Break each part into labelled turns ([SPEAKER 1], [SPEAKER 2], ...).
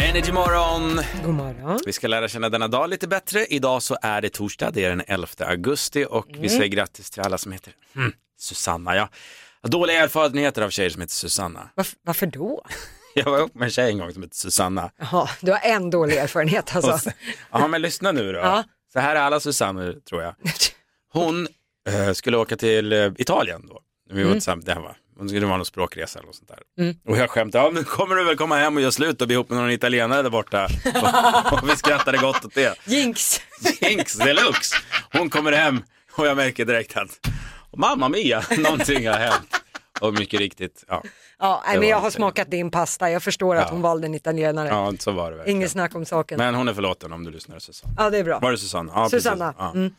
[SPEAKER 1] Energy morgon.
[SPEAKER 2] God morgon.
[SPEAKER 1] Vi ska lära känna denna dag lite bättre. Idag så är det torsdag, det är den 11 augusti och vi säger grattis till alla som heter mm, Susanna. Ja. Jag har Dåliga erfarenheter av tjejer som heter Susanna.
[SPEAKER 2] Varf- varför då?
[SPEAKER 1] Jag var ihop med en tjej en gång som hette Susanna.
[SPEAKER 2] Jaha, du har en dålig erfarenhet
[SPEAKER 1] Och
[SPEAKER 2] alltså.
[SPEAKER 1] sen- Ja men lyssna nu då.
[SPEAKER 2] Ja.
[SPEAKER 1] Så här är alla Susannor tror jag. Hon eh, skulle åka till eh, Italien då. Vi var tillsammans, det här var, hon skulle vara någon språkresa eller något sånt där. Och jag skämtade, ja men kommer du väl komma hem och göra slut och bli ihop med någon italienare där borta. och, och vi skrattade gott åt det.
[SPEAKER 2] Jinx!
[SPEAKER 1] Jinx deluxe. Hon kommer hem och jag märker direkt att mamma mia, någonting har hänt. Och mycket riktigt, ja,
[SPEAKER 2] Ja, nej,
[SPEAKER 1] Det
[SPEAKER 2] men
[SPEAKER 1] var
[SPEAKER 2] jag har
[SPEAKER 1] inte-
[SPEAKER 2] smakat din pasta, jag förstår att
[SPEAKER 1] Ja.
[SPEAKER 2] hon valde en italienare.
[SPEAKER 1] ja så var det verkligen.
[SPEAKER 2] Inget snack om saken.
[SPEAKER 1] Men hon är förlåten om du lyssnar Susanne.
[SPEAKER 2] Ja, det är bra.
[SPEAKER 1] Var det Susanne? Ja, precis.
[SPEAKER 2] Susanna,
[SPEAKER 1] Ja.
[SPEAKER 2] mm.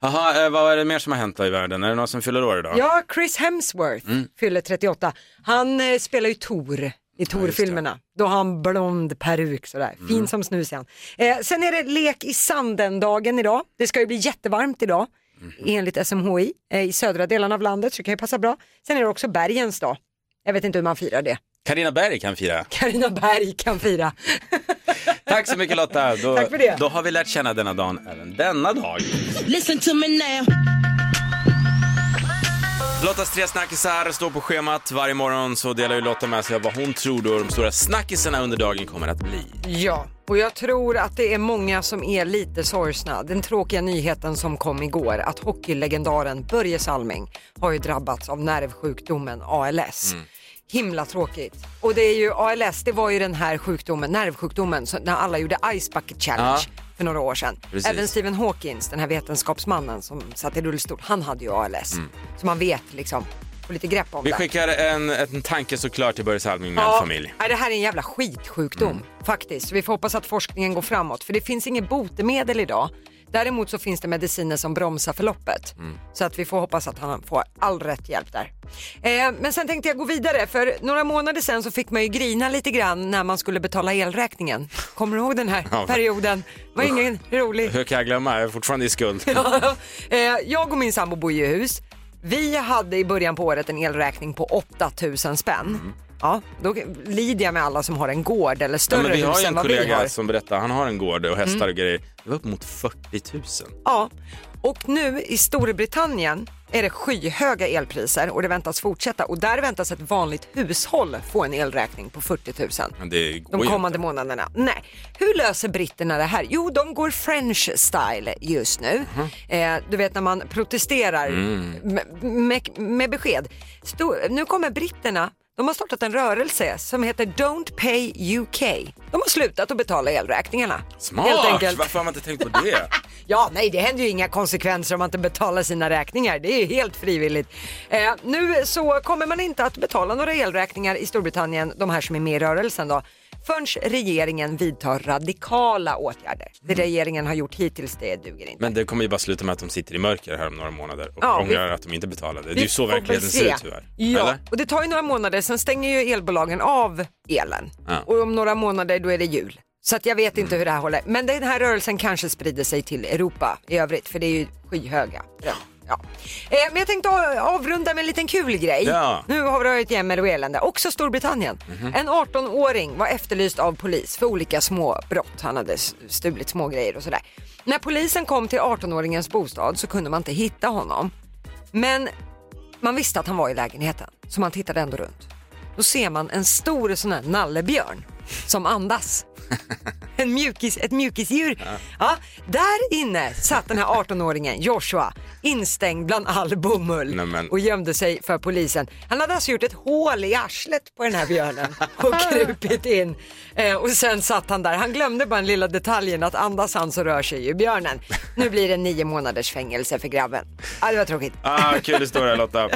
[SPEAKER 1] Jaha, eh, vad är det mer som har hänt då i världen? Är det någon som fyller år idag?
[SPEAKER 2] Ja, Chris Hemsworth fyller 38. Han eh, spelar ju Tor i Tor-filmerna. Då har han blond peruk sådär, fin som snus är han. Eh, sen är det lek i sanden-dagen idag. Det ska ju bli jättevarmt idag enligt SMHI eh, i södra delarna av landet så det kan ju passa bra. Sen är det också bergens dag. Jag vet inte hur man firar det.
[SPEAKER 1] Carina Berg kan fira.
[SPEAKER 2] Carina Berg kan fira.
[SPEAKER 1] Tack så mycket Lotta. Då,
[SPEAKER 2] Tack för det.
[SPEAKER 1] Då har vi lärt känna denna dagen även denna dag.
[SPEAKER 3] Listen to me now.
[SPEAKER 1] Lottas tre snackisar står på schemat. Varje morgon så delar ju Lotta med sig av vad hon tror då de stora snackisarna under dagen kommer att bli.
[SPEAKER 2] Ja, och jag tror att det är många som är lite sorgsna. Den tråkiga nyheten som kom igår att hockeylegendaren Börje Salming har ju drabbats av nervsjukdomen ALS.
[SPEAKER 1] Mm.
[SPEAKER 2] Himla tråkigt. Och det är ju ALS, det var ju den här sjukdomen, nervsjukdomen, så när alla gjorde Ice Bucket Challenge för några år sedan.
[SPEAKER 1] Precis.
[SPEAKER 2] Även Stephen Hawkins, den här vetenskapsmannen som satt i rullstol, han hade ju ALS. Så man vet liksom, får lite grepp om
[SPEAKER 1] Mm. Vi
[SPEAKER 2] det.
[SPEAKER 1] skickar en, en tanke såklart till Börje Salming med en familj. Mm.
[SPEAKER 2] Nej, det här är en jävla skitsjukdom faktiskt. Så vi får hoppas att forskningen går framåt för det finns inget botemedel idag. Däremot så finns det mediciner som bromsar förloppet.
[SPEAKER 1] Mm.
[SPEAKER 2] Så att vi får hoppas att han får all rätt hjälp där. Eh, men sen tänkte jag gå vidare för några månader sen så fick man ju grina lite grann när man skulle betala elräkningen. Kommer du ihåg den här
[SPEAKER 1] Ja.
[SPEAKER 2] perioden? Det var ingen rolig.
[SPEAKER 1] Hur kan jag glömma? Jag är fortfarande i skuld.
[SPEAKER 2] Eh, jag och min sambo bor ju i hus. Vi hade i början på året en elräkning på 8000 spänn. Ja, då lider jag med alla som har en gård eller
[SPEAKER 1] Mm. Ja,
[SPEAKER 2] större
[SPEAKER 1] men vi har
[SPEAKER 2] hus
[SPEAKER 1] ju
[SPEAKER 2] än
[SPEAKER 1] en
[SPEAKER 2] vad vi har.
[SPEAKER 1] kollega som berättar, han har en gård och hästar
[SPEAKER 2] Mm.
[SPEAKER 1] och grejer. Det var upp mot 40 000.
[SPEAKER 2] Ja, och nu i Storbritannien är det skyhöga elpriser och det väntas fortsätta och där väntas ett vanligt hushåll få en elräkning på 40 000.
[SPEAKER 1] Men det går
[SPEAKER 2] De
[SPEAKER 1] ju
[SPEAKER 2] kommande
[SPEAKER 1] inte.
[SPEAKER 2] månaderna. Nej. Hur löser britterna det här? Jo, de går French style just nu.
[SPEAKER 1] Mhm.
[SPEAKER 2] Eh, du vet när man protesterar
[SPEAKER 1] Mm.
[SPEAKER 2] med, med, med besked. Stor, nu kommer britterna, de har startat en rörelse som heter Don't Pay UK. De har slutat att betala elräkningarna. Helt
[SPEAKER 1] Smart!
[SPEAKER 2] enkelt.
[SPEAKER 1] Varför har man inte tänkt på det?
[SPEAKER 2] Ja, nej, det händer ju inga konsekvenser om man inte betalar sina räkningar. Det är helt frivilligt. Eh, nu så kommer man inte att betala några elräkningar i Storbritannien, de här som är med i rörelsen då, förrän regeringen vidtar radikala åtgärder. Det regeringen har gjort hittills, det duger inte.
[SPEAKER 1] Men det kommer ju bara sluta med att de sitter i mörker här om några månader och
[SPEAKER 2] Ja, vi-
[SPEAKER 1] ångrar att de inte betalade. Det är
[SPEAKER 2] Vi
[SPEAKER 1] ju så
[SPEAKER 2] får väl
[SPEAKER 1] verkligheten
[SPEAKER 2] se.
[SPEAKER 1] ser ut tyvärr.
[SPEAKER 2] Ja,
[SPEAKER 1] Eller?
[SPEAKER 2] och det tar ju några månader, sen stänger ju elbolagen av elen.
[SPEAKER 1] Ja. Mm.
[SPEAKER 2] Och om några månader då är det jul. Så att jag vet inte hur det här håller. Men den här rörelsen kanske sprider sig till Europa i övrigt, för det är ju skyhöga. bränn. Ja. Eh, men jag tänkte a- avrunda med en liten kul grej.
[SPEAKER 1] Ja. Mhm.
[SPEAKER 2] Nu har vi röjt jämmer och elände. Också Storbritannien. En 18-åring var efterlyst av polis för olika småbrott. Han hade s- stulit små grejer och sådär. När polisen kom till 18-åringens bostad så kunde man inte hitta honom. Men man visste att han var i lägenheten, så man tittade ändå runt. Då ser man en stor sån här nallebjörn som andas. En mjukis, ett mjukisdjur. Ja, där inne satt den här 18-åringen Joshua instängd bland all bomull
[SPEAKER 1] Nej, men-
[SPEAKER 2] och gömde sig för polisen. Han hade alltså gjort ett hål i arslet på den här björnen och krupit in. Eh, och sen satt han där. Han glömde bara den lilla detaljen att andas han så rör sig ju björnen. Nu blir det nio månaders fängelse för grabben. Ja, det var tråkigt.
[SPEAKER 1] Ah, kul historia Lotta.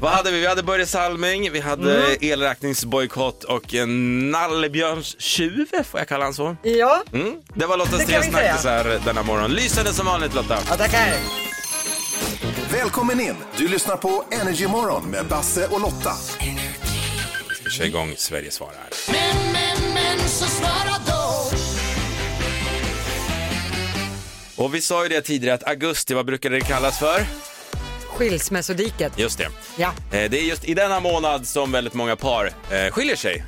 [SPEAKER 1] Vad hade vi? Vi hade Börje Salming, vi hade
[SPEAKER 2] Mm.
[SPEAKER 1] elräkningsbojkott och en nallebjörnstjuv, får jag kalla han så?
[SPEAKER 2] Ja,
[SPEAKER 1] Mm. Det var Lottas
[SPEAKER 2] Det kan
[SPEAKER 1] tre
[SPEAKER 2] vi säga.
[SPEAKER 1] snackisar denna morgon. Lysande som vanligt Lotta.
[SPEAKER 2] ja tackar.
[SPEAKER 4] Välkommen in! Du lyssnar på Energy Morgon med Basse och Lotta.
[SPEAKER 1] Vi kör igång Sverige svarar.
[SPEAKER 3] Men, men, men, så svara då.
[SPEAKER 1] Och vi sa ju det tidigare att augusti, vad brukade det kallas för?
[SPEAKER 2] Skilsmässodiket.
[SPEAKER 1] Just det.
[SPEAKER 2] Ja.
[SPEAKER 1] Eh, Det är just i denna månad som väldigt många par eh, skiljer sig.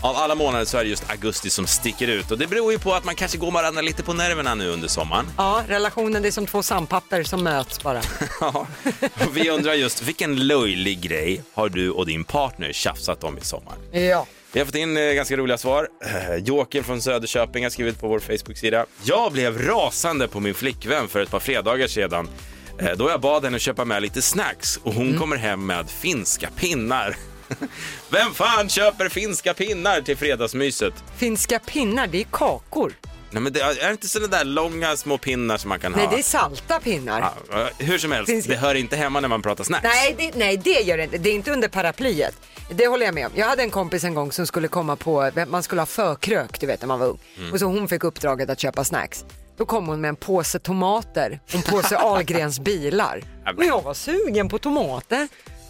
[SPEAKER 1] Av alla månader så är det just augusti som sticker ut och det beror ju på att man kanske går varandra lite på nerverna nu under sommaren.
[SPEAKER 2] Ja, relationen det är som två sandpapper som möts bara.
[SPEAKER 1] Ja. Och Vi undrar just vilken löjlig grej har du och din partner tjafsat om i sommar?
[SPEAKER 2] ja.
[SPEAKER 1] Vi har fått in eh, ganska roliga svar. Eh, Joakim från Söderköping har skrivit på vår Facebook-sida. Jag blev rasande på min flickvän för ett par fredagar sedan eh, då jag bad henne köpa med lite snacks och
[SPEAKER 2] Mm.
[SPEAKER 1] hon kommer hem med finska pinnar. Vem fan köper finska pinnar till fredagsmyset?
[SPEAKER 2] Finska pinnar, det är kakor.
[SPEAKER 1] Nej, men det är är det inte sådana där långa små pinnar som man kan
[SPEAKER 2] Nej,
[SPEAKER 1] ha?
[SPEAKER 2] det är salta pinnar.
[SPEAKER 1] Ja, eh, hur som helst,
[SPEAKER 2] Finska-
[SPEAKER 1] det hör inte hemma när man pratar snacks.
[SPEAKER 2] Nej, det, nej, det gör det inte. Det är inte under paraplyet. Det håller jag med om. Jag hade en kompis en gång som skulle komma på, man skulle ha förkrök, du vet när man var ung. Och så hon fick uppdraget att köpa snacks. Då kom hon med en påse tomater och en påse Ahlgrens bilar.
[SPEAKER 1] Ja, men-
[SPEAKER 2] Och jag var sugen på tomater.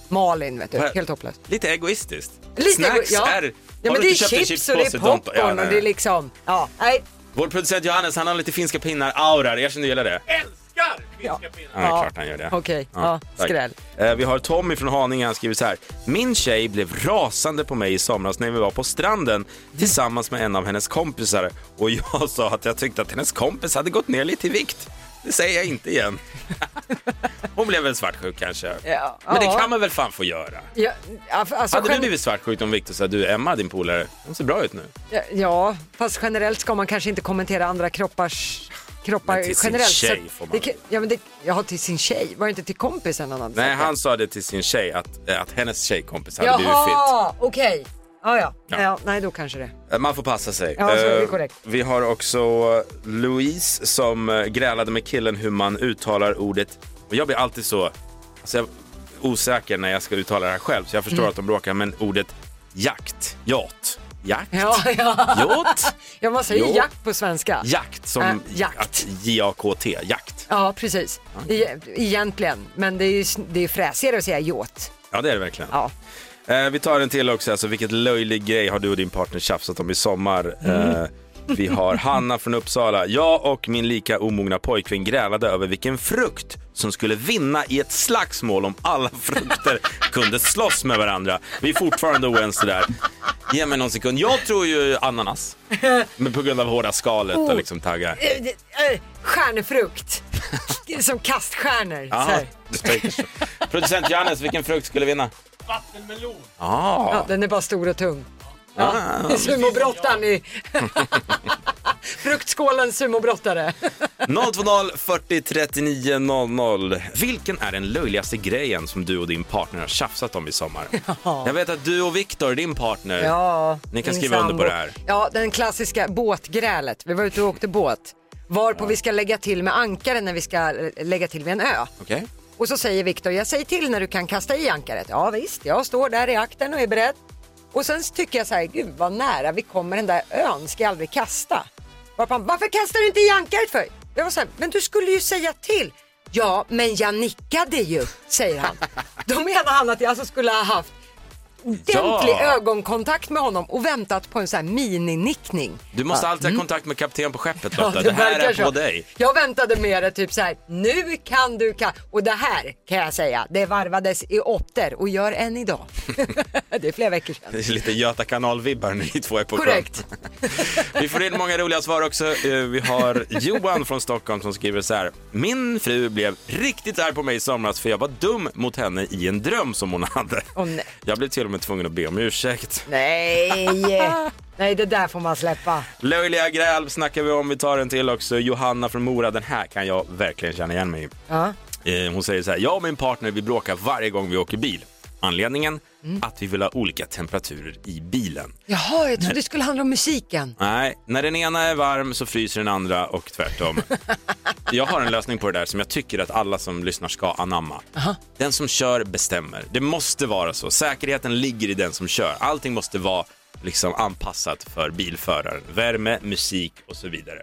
[SPEAKER 2] Malin vet du,
[SPEAKER 1] Vad-
[SPEAKER 2] helt hopplöst.
[SPEAKER 1] Lite egoistiskt.
[SPEAKER 2] Lite-
[SPEAKER 1] snacks är...
[SPEAKER 2] Ja
[SPEAKER 1] Har
[SPEAKER 2] men
[SPEAKER 1] du
[SPEAKER 2] det är
[SPEAKER 1] inte köpt en
[SPEAKER 2] chips och det är
[SPEAKER 1] chipspåse, Donto?
[SPEAKER 2] popcorn
[SPEAKER 1] Ja,
[SPEAKER 2] och
[SPEAKER 1] nej,
[SPEAKER 2] det är
[SPEAKER 1] nej.
[SPEAKER 2] liksom, ja, nej.
[SPEAKER 1] Vår producent Johannes, han har lite finska pinnar aura Jag känner du gillar det. Ja, det är
[SPEAKER 2] Eh, Ja.
[SPEAKER 1] klart han gör det.
[SPEAKER 2] Okej, ja,
[SPEAKER 1] tack.
[SPEAKER 2] skräll.
[SPEAKER 1] Eh, Vi har Tommy från Haninge, han skriver så här. Min tjej blev rasande på mig i somras när vi var på stranden tillsammans med en av hennes kompisar och jag sa att jag tyckte att hennes kompis hade gått ner lite i vikt. Det säger jag inte igen. Hon blev väl svartsjuk kanske.
[SPEAKER 2] Ja.
[SPEAKER 1] Men det
[SPEAKER 2] Ja.
[SPEAKER 1] kan man väl fan få göra?
[SPEAKER 2] Ja, alltså,
[SPEAKER 1] Hade du
[SPEAKER 2] gen-
[SPEAKER 1] blivit svartsjuk om Victor sa du Emma, din polare, hon ser bra ut nu?
[SPEAKER 2] Ja, Ja, fast generellt ska man kanske inte kommentera andra kroppars kroppar
[SPEAKER 1] Men till sin
[SPEAKER 2] generellt.
[SPEAKER 1] tjej
[SPEAKER 2] Så
[SPEAKER 1] får man
[SPEAKER 2] det,
[SPEAKER 1] väl.
[SPEAKER 2] kan- ja, men det, ja, till sin tjej. Var det inte till kompisen han hade
[SPEAKER 1] Nej,
[SPEAKER 2] sagt det?
[SPEAKER 1] han sa det till sin tjej att, eh, att hennes tjejkompis hade blivit fit.
[SPEAKER 2] Jaha, okej. Ja, ja.
[SPEAKER 1] Ja.
[SPEAKER 2] Ja. nej, då kanske det.
[SPEAKER 1] Eh, Man får passa sig.
[SPEAKER 2] Ja, så är det
[SPEAKER 1] Eh,
[SPEAKER 2] korrekt.
[SPEAKER 1] Vi har också eh, Louise som eh, grälade med killen hur man uttalar ordet. Och jag blir alltid så alltså jag, är osäker när jag ska uttala det här själv, så jag
[SPEAKER 2] Mm.
[SPEAKER 1] förstår att de bråkar. Men ordet jakt, jat, jakt,
[SPEAKER 2] Ja, ja.
[SPEAKER 1] jåt,
[SPEAKER 2] ja man säger
[SPEAKER 1] Jo.
[SPEAKER 2] jakt på svenska.
[SPEAKER 1] jakt som
[SPEAKER 2] Eh, jakt.
[SPEAKER 1] att J-A-K-T, jakt.
[SPEAKER 2] Ja, precis. E egentligen. Men det är, ju sn- det är fräsigare att säga jåt.
[SPEAKER 1] Ja, det är det verkligen.
[SPEAKER 2] Ja.
[SPEAKER 1] Eh, vi tar en till också, alltså vilket löjlig grej har du och din partner tjafsat om i sommar? Eh, vi har Hanna från Uppsala. Jag och min lika omogna pojkvän grälade över vilken frukt som skulle vinna i ett slagsmål om alla frukter kunde slåss med varandra. Vi är fortfarande oense där. Ge mig någon sekund. Jag tror ju ananas, men på grund av hårda skalet och liksom taggar.
[SPEAKER 2] Eh, eh, Stjärnefrukt. Som kaststjärnor. Så
[SPEAKER 1] Aha,
[SPEAKER 2] här.
[SPEAKER 1] du tänker så. Producent Johannes, vilken frukt skulle vinna? Ah. Vattenmelon.
[SPEAKER 2] Ja, den är bara stor och tung. Ja. Sumobrottaren i... Fruktskålen sumobrottare.
[SPEAKER 1] 020 40 39 00. Vilken är den löjligaste grejen som du och din partner har tjafsat om i sommar? Jag vet att du och Viktor, din partner,
[SPEAKER 2] Ja,
[SPEAKER 1] ni kan
[SPEAKER 2] min
[SPEAKER 1] skriva under
[SPEAKER 2] sambo.
[SPEAKER 1] på det här.
[SPEAKER 2] Ja, den klassiska båtgrälet. Vi var ute och åkte båt. Varpå vi ska lägga till med ankaren när vi ska eh, lägga till vid en ö.
[SPEAKER 1] Okej?
[SPEAKER 2] Och så säger Viktor, jag säger till när du kan kasta i ankaret. Ja visst, jag står där i akten och är beredd. Och sen tycker jag så här, gud vad nära vi kommer den där ön, ska jag aldrig kasta? Varpå han, varför kastar du inte i ankaret för? Jag var så här, men du skulle ju säga till. Ja, men jag nickade ju, säger han. Då menar han att jag alltså skulle ha haft ordentlig
[SPEAKER 1] Ja.
[SPEAKER 2] ögonkontakt med honom och väntat på en sån här mininickning.
[SPEAKER 1] Du måste
[SPEAKER 2] Ja. Mm.
[SPEAKER 1] alltid ha kontakt med kapten på skeppet Lotta.
[SPEAKER 2] Ja,
[SPEAKER 1] det, här
[SPEAKER 2] verkar
[SPEAKER 1] är på
[SPEAKER 2] så.
[SPEAKER 1] dig.
[SPEAKER 2] Jag väntade mer typ så här, nu kan du kan. Och det här kan jag säga, det varvades i åttor och gör än idag. det är flera veckor sedan.
[SPEAKER 1] Det är lite Göta kanal-vibbar ni två är på sjön.
[SPEAKER 2] Korrekt.
[SPEAKER 1] Vi får in många roliga svar också. Eh, Vi har Johan från Stockholm som skriver så här. Min fru blev riktigt arg på mig i somras för jag var dum mot henne i en dröm som hon hade.
[SPEAKER 2] Åh, nej.
[SPEAKER 1] Jag blev till och med tvungen att be om ursäkt.
[SPEAKER 2] Nej, nej det där får man släppa.
[SPEAKER 1] Löjliga gräl snackar vi om. Vi tar en till också. Johanna från Mora, den här kan jag verkligen känna igen mig i.
[SPEAKER 2] Ja.
[SPEAKER 1] Eh, Hon säger så här, jag och min partner vi bråkar varje gång vi åker bil. Anledningen?
[SPEAKER 2] Mm.
[SPEAKER 1] Att vi vill ha olika temperaturer i bilen.
[SPEAKER 2] Jaha, jag trodde det skulle handla om musiken.
[SPEAKER 1] Nej, när den ena är varm så fryser den andra och tvärtom. jag har en lösning på det där som jag tycker att alla som lyssnar ska anamma. Den som kör bestämmer. Det måste vara så. Säkerheten ligger i den som kör. Allting måste vara liksom anpassat för bilföraren. Värme, musik och så vidare.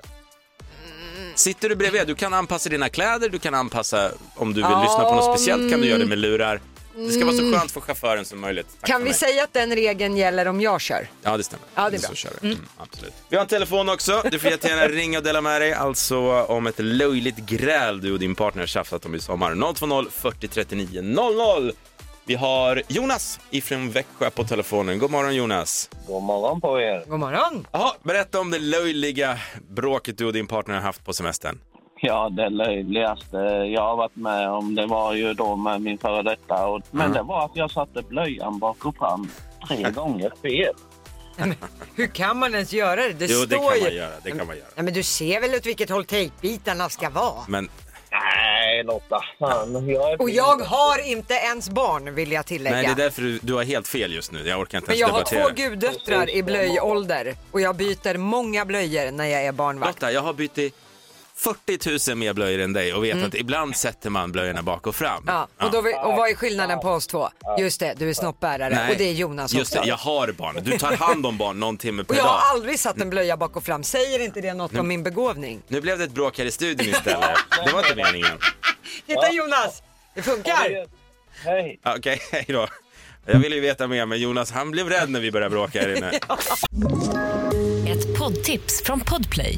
[SPEAKER 1] Sitter du bredvid, du kan anpassa dina kläder, du kan anpassa om du vill lyssna på något speciellt kan du göra det med lurar. Det ska vara så skönt för chauffören som möjligt. Tack
[SPEAKER 2] Mm. Kan
[SPEAKER 1] för
[SPEAKER 2] vi
[SPEAKER 1] mig.
[SPEAKER 2] säga att den regeln gäller om jag kör?
[SPEAKER 1] Ja, det stämmer.
[SPEAKER 2] Ja, det är bra.
[SPEAKER 1] Så kör vi. Mm, absolut. Vi har en telefon också. Du får jättegärna ringa och dela med dig. Alltså om ett löjligt gräl du och din partner har tjafsat om i sommar. 020 40 39 00. Vi har Jonas ifrån Växjö på telefonen. God morgon Jonas.
[SPEAKER 5] God morgon på er.
[SPEAKER 2] God morgon.
[SPEAKER 1] Jaha, berätta om det löjliga bråket du och din partner har haft på semestern.
[SPEAKER 5] Ja, det löjligaste jag har varit med om det var ju då med min före detta. Och, men
[SPEAKER 6] Mm.
[SPEAKER 5] det var att jag satte blöjan bak och fram tre gånger fel.
[SPEAKER 2] Hur kan man ens göra det? Det
[SPEAKER 1] Jo,
[SPEAKER 2] står
[SPEAKER 1] det kan
[SPEAKER 2] ju...
[SPEAKER 1] man göra. Det kan man göra.
[SPEAKER 2] Ja, men du ser väl åt vilket håll tejpbitarna ska vara?
[SPEAKER 1] Men
[SPEAKER 5] Nej, Lotta. Fan, jag är
[SPEAKER 2] Och jag har inte ens barn vill jag tillägga.
[SPEAKER 1] nej, det är därför du, du har helt fel just nu. Jag orkar inte
[SPEAKER 2] Men
[SPEAKER 1] ens
[SPEAKER 2] jag har
[SPEAKER 1] debattera.
[SPEAKER 2] två guddöttrar i blöjålder och jag byter många blöjor när jag är barnvakt.
[SPEAKER 1] Lotta, jag har bytt i 40 000 mer blöjor än dig och vet att ibland sätter man blöjorna bak och fram.
[SPEAKER 2] Mm. Ja, och, då vi, och vad är skillnaden på oss två? Just det, du är snoppbärare
[SPEAKER 1] Nej.
[SPEAKER 2] och det är Jonas
[SPEAKER 1] Just
[SPEAKER 2] också.
[SPEAKER 1] det, jag har barn. Du tar hand om barn någon timme per
[SPEAKER 2] Och jag
[SPEAKER 1] dag.
[SPEAKER 2] har aldrig satt en blöja bak och fram. Säger inte det något om
[SPEAKER 1] Mm.
[SPEAKER 2] min begåvning?
[SPEAKER 1] Nu blev det ett bråk här i studion istället. Det var inte meningen.
[SPEAKER 2] Titta Jonas! Det funkar!
[SPEAKER 5] Hej.
[SPEAKER 1] Ja, Okej, hej då. Jag ville ju veta mer, men Jonas han blev rädd när vi började bråka här inne.
[SPEAKER 7] Ett poddtips från Podplay.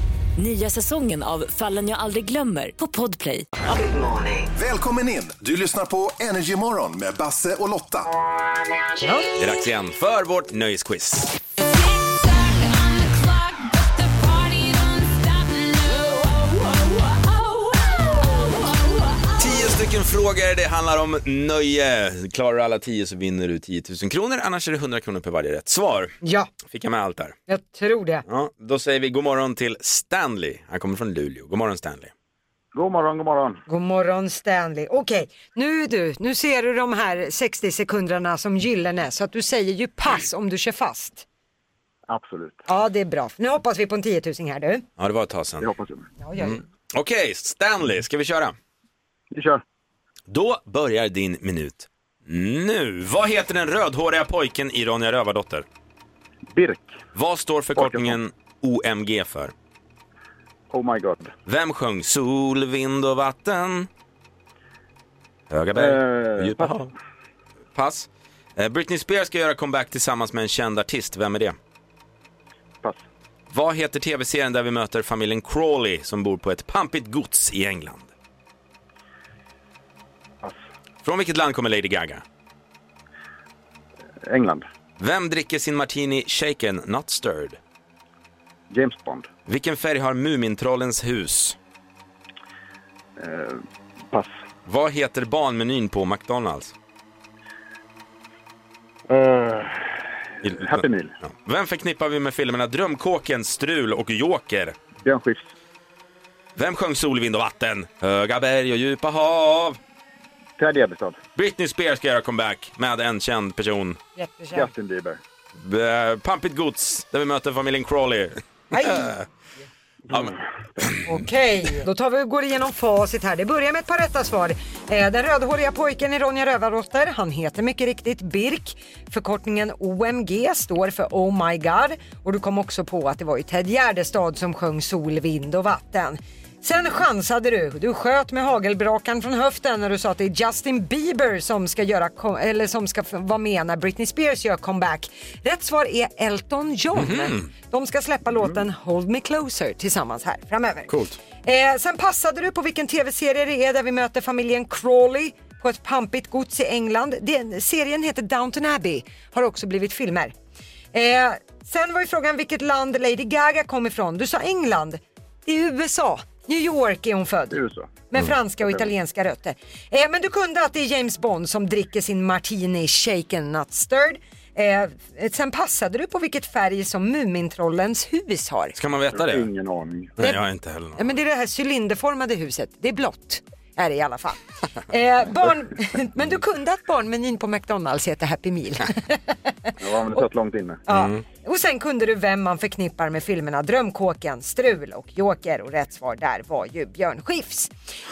[SPEAKER 7] Nya säsongen av Fallen jag aldrig glömmer på Podplay.
[SPEAKER 4] Välkommen in! Du lyssnar på Energy Morgon med Basse och Lotta.
[SPEAKER 1] Det är dags igen för vårt nöjesquiz. Tio stycken frågor, det handlar om nöje. Klarar du alla tio så vinner du 10 000 kronor, annars är det 100 kronor per varje rätt svar.
[SPEAKER 2] Ja,
[SPEAKER 1] Fick jag med allt där.
[SPEAKER 2] jag tror det.
[SPEAKER 1] Ja, då säger vi god morgon till Stanley. Han kommer från Luleå. God morgon Stanley.
[SPEAKER 5] God morgon, god morgon.
[SPEAKER 2] God morgon Stanley. Okej, nu du, nu ser du de här 60 sekunderna som gyllene så att du säger ju pass om du kör fast.
[SPEAKER 5] Absolut.
[SPEAKER 2] Ja, det är bra. Nu hoppas vi på en 10 000 här du.
[SPEAKER 1] Ja, det var ett tag sedan.
[SPEAKER 5] hoppas jag.
[SPEAKER 2] Ja, ja, ja.
[SPEAKER 1] Okej, Stanley, ska vi köra?
[SPEAKER 5] Vi kör.
[SPEAKER 1] Då börjar din minut nu. Vad heter den rödhåriga pojken i Ronja Rövardotter?
[SPEAKER 5] Birk.
[SPEAKER 1] Vad står förkortningen OMG för?
[SPEAKER 5] Oh my god.
[SPEAKER 1] Vem sjöng Sol, vind och vatten? Höga berg,
[SPEAKER 5] Eh,
[SPEAKER 1] djupa hav. Pass. Eh, Britney Spears ska göra comeback tillsammans med en känd artist. Vem är det?
[SPEAKER 5] Pass.
[SPEAKER 1] Vad heter tv-serien där vi möter familjen Crawley som bor på ett pampigt gods i England?
[SPEAKER 5] Pass.
[SPEAKER 1] Från vilket land kommer Lady Gaga?
[SPEAKER 5] England.
[SPEAKER 1] Vem dricker sin martini shaken, not stirred?
[SPEAKER 5] James Bond.
[SPEAKER 1] Vilken färg har Mumintrollens hus?
[SPEAKER 5] Pass.
[SPEAKER 1] Vad heter barnmenyn på McDonalds? I-
[SPEAKER 5] Happy Meal.
[SPEAKER 1] Ja. Vem förknippar vi med filmerna Drömkåken, Strul och Joker?
[SPEAKER 5] Björn Skifs.
[SPEAKER 1] Vem sjöng Sol, vind och vatten? Höga berg och djupa hav.
[SPEAKER 5] Teddy Ebbestad.
[SPEAKER 1] Britney Spears ska göra comeback med en känd person. Eh,
[SPEAKER 2] Jättekänt.
[SPEAKER 5] Justin Bieber.
[SPEAKER 1] B- Pampigt gods, där vi möter familjen Crawley.
[SPEAKER 2] Nej.
[SPEAKER 1] Ja, men,
[SPEAKER 2] Okej, då tar vi och går igenom facit här. Det börjar med ett par rätta svar. Eh, Den rödhåriga pojken i Ronja Rövardotter, han heter mycket riktigt Birk. Förkortningen OMG står för Oh My God och du kom också på att det var ju Ted Gärdestad som sjöng Sol, vind och vatten. Sen chansade du. Du sköt med hagelbrakan från höften när du sa att det är Justin Bieber som ska, göra, kom- eller som ska f- vara med när Britney Spears gör comeback. Rätt svar är Elton John. De ska släppa låten Hold Me Closer tillsammans här framöver.
[SPEAKER 1] Coolt.
[SPEAKER 2] Eh, sen passade du på vilken tv-serie det är där vi möter familjen Crawley på ett pampigt gods i England. Den, serien heter Downton Abbey, har också blivit filmer. Eh, sen var ju frågan vilket land Lady Gaga kom ifrån. Du sa England. Det är USA. New York är hon född.
[SPEAKER 8] Mm.
[SPEAKER 5] USA.
[SPEAKER 2] Med franska och italienska rötter. Eh, men du kunde att det är James Bond som dricker sin martini shaken not stirred. Eh, sen passade du på vilket färg som Mumintrollens hus har.
[SPEAKER 1] ska man veta det?
[SPEAKER 5] Ingen aning.
[SPEAKER 1] Nej, jag har inte heller någon.
[SPEAKER 2] Ja, men det är det här cylinderformade huset, det är blått. Ja, är det i alla fall. Eh, barn, men du kunde att barnmenyn på McDonalds heter Happy Meal.
[SPEAKER 9] Ja, men det satt långt inne.
[SPEAKER 2] Ja.
[SPEAKER 1] Mm.
[SPEAKER 2] Och sen kunde du vem man förknippar med filmerna Drömkåken, Strul och Joker och rätt svar där var ju Björn Skifs.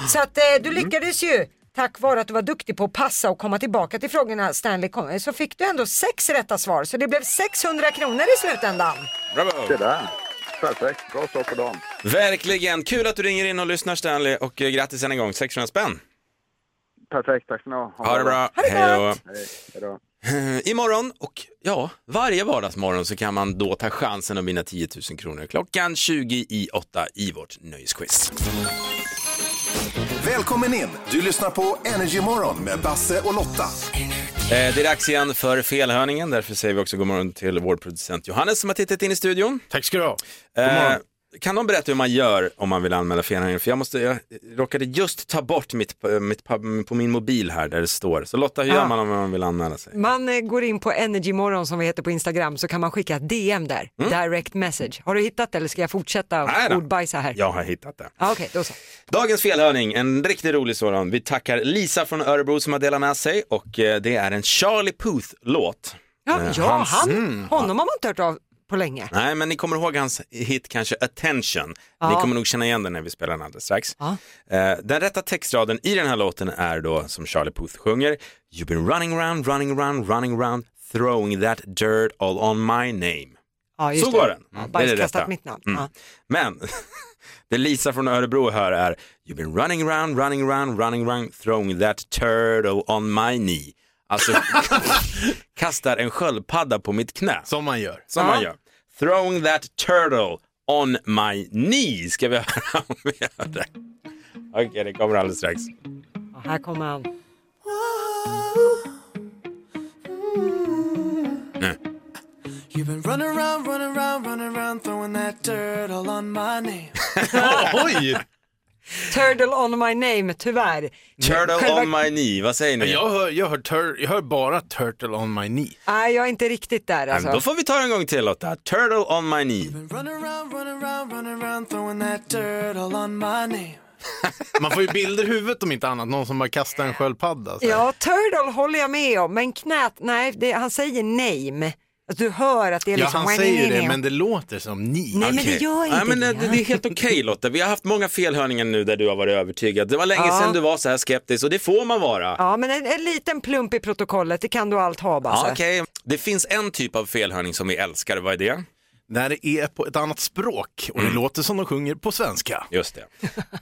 [SPEAKER 2] Så att eh, du
[SPEAKER 1] Mm.
[SPEAKER 2] lyckades ju tack vare att du var duktig på att passa och komma tillbaka till frågorna Stanley kom, eh, så fick du ändå sex rätta svar så det blev 600 kronor i slutändan.
[SPEAKER 9] Det
[SPEAKER 1] Bravo!
[SPEAKER 9] där. Perfekt. Bra start på dagen.
[SPEAKER 1] Verkligen, kul att du ringer in och lyssnar Stanley och eh, grattis än en gång, 600 spänn.
[SPEAKER 9] Perfekt. Tack ska ni ha.
[SPEAKER 1] Ha det bra,
[SPEAKER 2] det
[SPEAKER 1] hej då.
[SPEAKER 2] gott.
[SPEAKER 9] Hej. Hej då.
[SPEAKER 1] Eh, Imorgon och ja, varje vardagsmorgon så kan man då ta chansen att vinna 10 000 kronor klockan 20 i 8 i vårt nöjesquiz. Eh,
[SPEAKER 4] Välkommen in! Du lyssnar på Energymorgon med Basse och Lotta.
[SPEAKER 1] Eh, Det är dags igen för felhörningen, därför säger vi också god morgon till vår producent Johannes som har tittat in i studion.
[SPEAKER 8] Tack ska du ha.
[SPEAKER 1] Eh, kan de berätta hur man gör om man vill anmäla felhörningen? För jag, måste, jag råkade just ta bort mitt, eh, mitt, på min mobil här där det står. Så Lotta, hur gör
[SPEAKER 2] Ja.
[SPEAKER 1] man om man vill anmäla sig?
[SPEAKER 2] Man eh, går in på Energymorgon som vi heter på Instagram så kan man skicka ett DM där, direct message. Har du hittat det eller ska jag fortsätta
[SPEAKER 1] Mm. Nej
[SPEAKER 2] och
[SPEAKER 1] Äh då.
[SPEAKER 2] ordbajsa här?
[SPEAKER 1] Jag har hittat det.
[SPEAKER 2] Ja, Okej, då så.
[SPEAKER 1] Dagens felhörning, en riktigt rolig sådan. Vi tackar Lisa från Örebro som har delat med sig och eh, det är en Charlie Puth-låt.
[SPEAKER 2] Ja,
[SPEAKER 1] Eh,
[SPEAKER 2] ja
[SPEAKER 1] hans-
[SPEAKER 2] han, honom har man inte hört av på länge.
[SPEAKER 1] Nej, men ni kommer ihåg hans hit kanske Attention. Ni
[SPEAKER 2] Ja.
[SPEAKER 1] kommer nog känna igen den när vi spelar den alldeles strax.
[SPEAKER 2] Ja.
[SPEAKER 1] Eh, Den rätta textraden i den här låten är då som Charlie Puth sjunger. You've been running round, running round, running round, throwing that dirt all on my name.
[SPEAKER 2] Ja, just
[SPEAKER 1] Så går den.
[SPEAKER 2] Ja,
[SPEAKER 1] Mm, det är det
[SPEAKER 2] bajskastat
[SPEAKER 1] rätta.
[SPEAKER 2] mitt namn.
[SPEAKER 1] Mm.
[SPEAKER 2] Ja.
[SPEAKER 1] Men det Lisa från Örebro hör är You've been running round, running round, running round, throwing that turtle on my knee. Alltså kastar en sköldpadda på mitt knä.
[SPEAKER 8] Som man gör.
[SPEAKER 1] Som man gör. Throwing that turtle on my knee. Ska vi höra om vi gör det? Okej, det kommer alldeles strax.
[SPEAKER 2] Ja, här kommer han.
[SPEAKER 8] Oj!
[SPEAKER 2] Turtle on my name, tyvärr.
[SPEAKER 1] Turtle
[SPEAKER 2] Själva-
[SPEAKER 1] on my knee, vad säger ni?
[SPEAKER 8] Men jag hör, jag, hör tur, jag hör bara Turtle on my knee.
[SPEAKER 2] Nej, jag är inte riktigt där
[SPEAKER 1] Ja, men Då
[SPEAKER 2] alltså.
[SPEAKER 1] får vi ta det en gång till Lotta. Turtle on my knee.
[SPEAKER 8] Man får ju bilder i huvudet om inte annat. Någon som bara kastar en sköldpadda. så här.
[SPEAKER 2] Ja, turtle håller jag med om, men knät, nej, det, han säger name. Alltså, du hör att det är
[SPEAKER 8] ja,
[SPEAKER 2] liksom...
[SPEAKER 8] han säger ju det, men det låter som ni.
[SPEAKER 2] Nej, men
[SPEAKER 1] Okej.
[SPEAKER 2] det gör inte
[SPEAKER 1] Nej, men
[SPEAKER 2] det.
[SPEAKER 1] det. Det är helt okej Lotta. Vi har haft många felhörningar nu där du har varit övertygad. Det var länge
[SPEAKER 2] Ja.
[SPEAKER 1] sedan du var så här skeptisk och det får man vara.
[SPEAKER 2] Ja, men en, en liten plump i protokollet, det kan du allt ha Basse.
[SPEAKER 1] Ja, okej. Det finns en typ av felhörning som vi älskar. Vad är det?
[SPEAKER 8] När det är på ett annat språk och det låter som de sjunger på svenska.
[SPEAKER 1] Just det.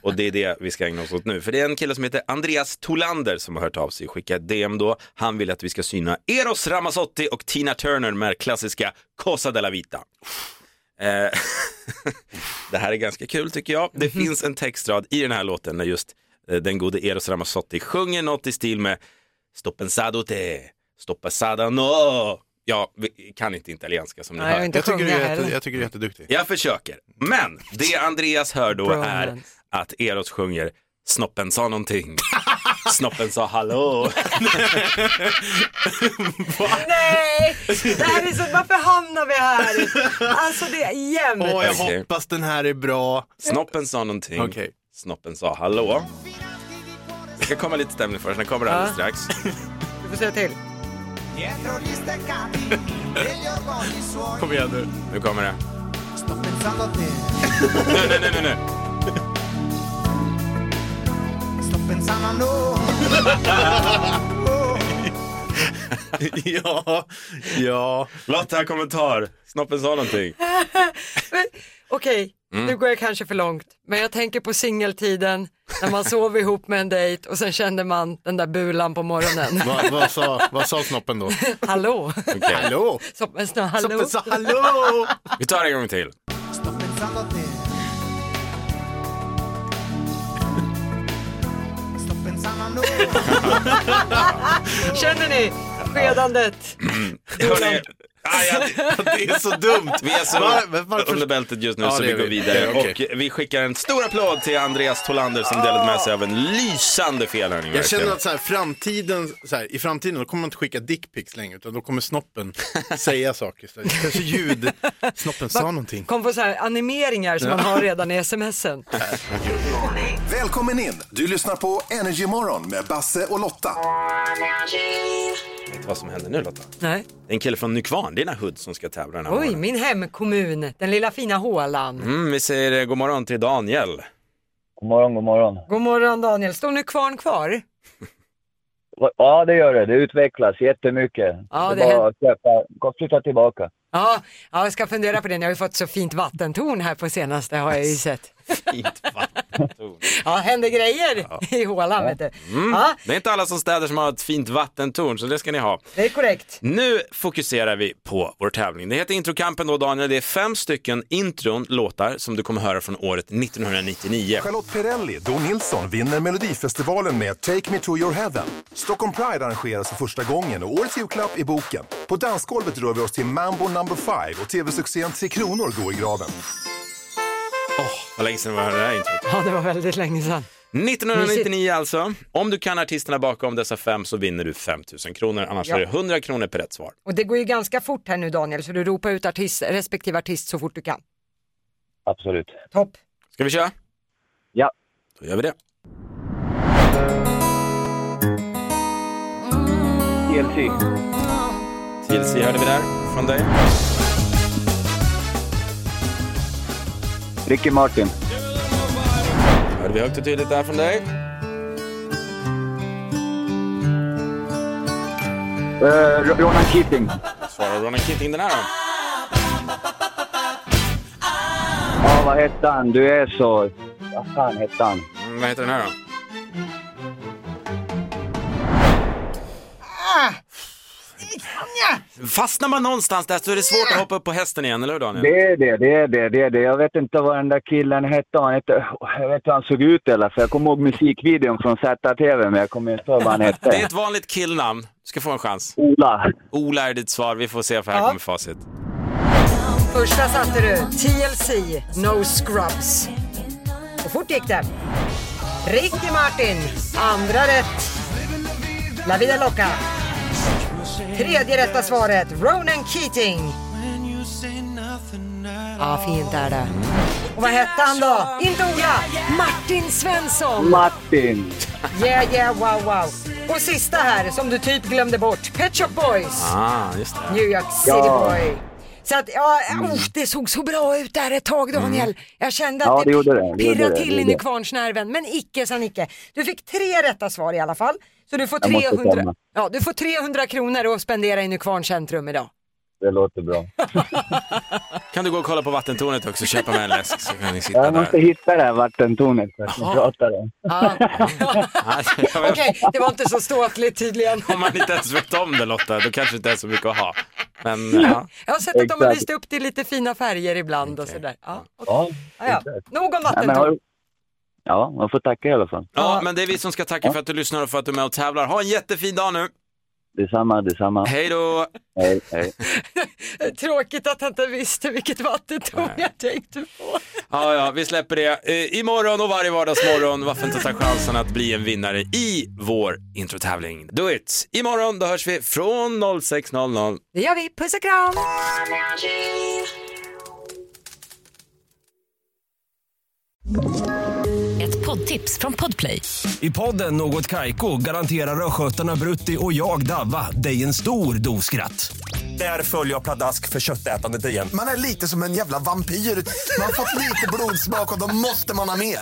[SPEAKER 1] Och det är det vi ska ägna oss åt nu. För det är en kille som heter Andreas Tolander som har hört av sig och skickat DM då. Han vill att vi ska syna Eros Ramazzotti och Tina Turner med klassiska Cosa della Vita. Eh, det här är ganska kul tycker jag. Det finns en textrad i den här låten när just eh, den gode Eros Ramazzotti sjunger något i stil med Sto pensado te, sto pensado no. Ja, vi kan inte italienska som ni
[SPEAKER 2] Nej, jag
[SPEAKER 1] hör.
[SPEAKER 2] vet inte
[SPEAKER 8] Jag tycker, du
[SPEAKER 2] sjunga
[SPEAKER 8] är jätte,
[SPEAKER 2] heller.
[SPEAKER 8] Alltså, jag tycker du är jätteduktig.
[SPEAKER 1] Jag försöker. Men det Andreas hör då är
[SPEAKER 2] Bromance.
[SPEAKER 1] att Eros sjunger Snoppen sa någonting. Snoppen sa hallå.
[SPEAKER 2] Nej, det här är så, varför hamnar vi här? Alltså det är jämnt.
[SPEAKER 8] Åh, jag
[SPEAKER 1] Okej.
[SPEAKER 8] hoppas den här är bra.
[SPEAKER 1] Snoppen sa någonting.
[SPEAKER 8] Okej.
[SPEAKER 1] Snoppen sa hallå. Det ska komma lite stämning först, den kommer alldeles strax.
[SPEAKER 2] Du får säga till.
[SPEAKER 8] Kom igen nu.
[SPEAKER 1] Nu kommer det. Nu, nu, nu, nu, nu.
[SPEAKER 8] ja, ja.
[SPEAKER 1] Lotta, kommentar. Snoppen sa någonting.
[SPEAKER 2] Men, Okej, nu går jag kanske för långt. Men jag tänker på singeltiden när man sov ihop med en dejt och sen kände man den där bulan på morgonen.
[SPEAKER 8] Vad vad sa, vad sa snoppen då?
[SPEAKER 2] hallå!
[SPEAKER 1] Okej.
[SPEAKER 8] Hallå!
[SPEAKER 2] Som en snö, hallå!
[SPEAKER 8] Snoppen sa hallå!
[SPEAKER 1] Vi tar det en gång till.
[SPEAKER 2] Känner ni skedandet?
[SPEAKER 1] Hörrni,
[SPEAKER 8] Det är så dumt.
[SPEAKER 1] Vi är så
[SPEAKER 8] Var- varför-
[SPEAKER 1] under bältet just nu
[SPEAKER 8] Ja,
[SPEAKER 1] så
[SPEAKER 8] det
[SPEAKER 1] vi
[SPEAKER 8] är
[SPEAKER 1] går
[SPEAKER 8] vi.
[SPEAKER 1] vidare.
[SPEAKER 8] Ja, okej.
[SPEAKER 1] Och vi skickar en stor applåd till Andreas Tolander som delade med sig av en lysande felhörning.
[SPEAKER 8] Jag känner
[SPEAKER 1] verkligen.
[SPEAKER 8] att så här, framtiden, så här, i framtiden då kommer man inte skicka dickpics längre utan då kommer snoppen säga saker istället. Kanske ljud. Snoppen sa någonting.
[SPEAKER 2] Kom på så här animeringar som man har redan i smsen.
[SPEAKER 4] Välkommen in! Du lyssnar på Energy Morgon med Basse och Lotta.
[SPEAKER 1] Vet du vad som händer nu Lotta?
[SPEAKER 2] Nej.
[SPEAKER 1] Det är en kille från Nykvarn, dina hud som ska tävla den här
[SPEAKER 2] Oj,
[SPEAKER 1] morgonen.
[SPEAKER 2] min hemkommun, den lilla fina hålan.
[SPEAKER 1] Mm, vi säger eh, god morgon till Daniel.
[SPEAKER 6] God morgon, god morgon.
[SPEAKER 2] God morgon Daniel, står nu kvarn kvar?
[SPEAKER 6] Ja, det gör det. Det utvecklas jättemycket.
[SPEAKER 2] Ja,
[SPEAKER 6] det
[SPEAKER 2] det
[SPEAKER 6] är bara att släppa, gå- flytta tillbaka.
[SPEAKER 2] Ja, ja, jag ska fundera på det. Ni har ju fått så fint vattentorn här på senaste har jag ju sett.
[SPEAKER 1] Fint vattentorn.
[SPEAKER 2] Ja, händer grejer i hålan vet du.
[SPEAKER 1] Mm.
[SPEAKER 2] Ja,
[SPEAKER 1] Det är inte alla som städer som har ett fint vattentorn, så det ska ni ha.
[SPEAKER 2] det är korrekt.
[SPEAKER 1] Nu fokuserar vi på vår tävling. Det heter Introkampen då Daniel. Det är fem stycken intron, låtar, som du kommer höra från året 1999.
[SPEAKER 4] Charlotte Perrelli, Don Nilsson, vinner Melodifestivalen med Take Me To Your Heaven. Stockholm Pride arrangeras för första gången och årets julklapp är boken. På dansgolvet rör vi oss till Mambo Number Five och tv-succén Tre Kronor går i graven.
[SPEAKER 1] Vad länge sedan vi hörde det här introt.
[SPEAKER 2] Ja, det var väldigt länge sedan.
[SPEAKER 1] 1999 alltså. Om du kan artisterna bakom dessa fem så vinner du 5 000 kronor. Annars
[SPEAKER 2] Ja.
[SPEAKER 1] är det 100 kronor per rätt svar.
[SPEAKER 2] Och det går ju ganska fort här nu Daniel, så du ropar ut artist, respektive artist så fort du kan.
[SPEAKER 6] Absolut.
[SPEAKER 2] Topp.
[SPEAKER 1] Ska vi köra?
[SPEAKER 6] Ja.
[SPEAKER 1] Då gör vi det.
[SPEAKER 6] TLC.
[SPEAKER 1] TLC hörde vi där från dig.
[SPEAKER 6] Ricky Martin.
[SPEAKER 1] Hörde vi högt och tydligt där från dig.
[SPEAKER 6] Eh, Ro- Ronan Keating.
[SPEAKER 1] Svarar Ronan Keating den här då?
[SPEAKER 6] Ja, vad hette han? Du är så... Vad fan hette han?
[SPEAKER 1] Mm, vad heter den här då? Fastnar man någonstans där så är det svårt att hoppa upp på hästen igen, eller hur Daniel?
[SPEAKER 6] Det är det, det är det, det är det. Jag vet inte vad den där killen hette. Han hette... Jag vet inte hur han såg ut eller för jag kommer ihåg musikvideon från ZTV, men jag kommer inte ihåg vad han hette.
[SPEAKER 1] Det är ett vanligt killnamn. Du ska få en chans.
[SPEAKER 6] Ola.
[SPEAKER 1] Ola är ditt svar. Vi får se, för här
[SPEAKER 2] Ja.
[SPEAKER 1] kommer facit.
[SPEAKER 2] Första satte du TLC, No Scrubs. Och fort gick det. Ricky Martin, andra rätt. La Vida Loca. Tredje rätta svaret, Ronan Keating. Ja, fint är det. Och vad hette han då? Inte Ola, Martin Svensson.
[SPEAKER 6] Martin.
[SPEAKER 2] Yeah, yeah, wow, wow. Och sista här, som du typ glömde bort, Pet Shop Boys.
[SPEAKER 1] Ah, just det.
[SPEAKER 2] New York City
[SPEAKER 6] Ja.
[SPEAKER 2] boy. Så att, ja, oh, det såg så bra ut där ett tag Daniel. Jag kände att
[SPEAKER 6] Mm. Ja, det gjorde det, det
[SPEAKER 2] pirrade
[SPEAKER 6] gjorde det, det
[SPEAKER 2] till in
[SPEAKER 6] gjorde
[SPEAKER 2] i
[SPEAKER 6] det.
[SPEAKER 2] kvarnsnerven, men icke sa Nicke. Du fick tre rätta svar i alla fall. Så du får
[SPEAKER 6] Jag måste
[SPEAKER 2] 300,
[SPEAKER 6] stämma.
[SPEAKER 2] ja, du får 300 kronor att spendera i Nykvarns centrum idag.
[SPEAKER 6] Det låter bra.
[SPEAKER 1] Kan du gå och kolla på vattentornet också och köpa med en läsk så kan ni sitta
[SPEAKER 6] Jag måste
[SPEAKER 1] där.
[SPEAKER 6] hitta det här vattentornet för att ni
[SPEAKER 1] Jaha.
[SPEAKER 6] pratar om.
[SPEAKER 2] Ja.
[SPEAKER 1] Ah, jag vet-
[SPEAKER 2] Okej, det var inte så ståtligt tydligen.
[SPEAKER 1] Om man inte ens vet om det Lotta, då kanske det inte är så mycket att ha. Men ja,
[SPEAKER 2] Jag har sett att de har
[SPEAKER 6] Exakt.
[SPEAKER 2] lyst upp det i lite fina färger ibland och sådär. Ja, okej.
[SPEAKER 6] Ja,
[SPEAKER 2] ja, ja. Nog om
[SPEAKER 6] Nej, men
[SPEAKER 2] vattentorn.
[SPEAKER 6] har... Ja, man får tacka i alla fall.
[SPEAKER 1] ja men det är vi som ska tacka för att du lyssnar och för att du är med och tävlar. Ha en jättefin dag nu.
[SPEAKER 6] Detsamma, detsamma.
[SPEAKER 1] Hej då!
[SPEAKER 6] Hej, hej.
[SPEAKER 2] Tråkigt att han inte visste vilket vattentorn jag tänkte på.
[SPEAKER 1] Ja, ja, vi släpper det. Eh, imorgon och varje vardagsmorgon, varför inte ta chansen att bli en vinnare i vår introtävling? Do it! Imorgon, då hörs vi från 06.00.
[SPEAKER 2] Det gör vi. Puss och kram!
[SPEAKER 7] Ett poddtips från Podplay.
[SPEAKER 10] I podden Något Kaiko garanterar östgötarna Brutti och jag, Davva, dig en stor dos skratt. Där följer jag pladask för köttätandet igen.
[SPEAKER 11] Man är lite som en jävla vampyr. Man har fått lite blodsmak och då måste man ha mer.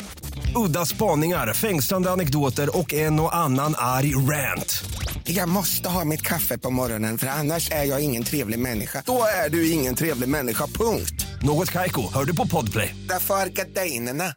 [SPEAKER 10] Udda spaningar, fängslande anekdoter och en och annan arg rant.
[SPEAKER 11] Jag måste ha mitt kaffe på morgonen för annars är jag ingen trevlig människa. Då är du ingen trevlig människa, punkt.
[SPEAKER 10] Något Kaiko, hör du på Podplay.
[SPEAKER 11] Därför arkadeinerna.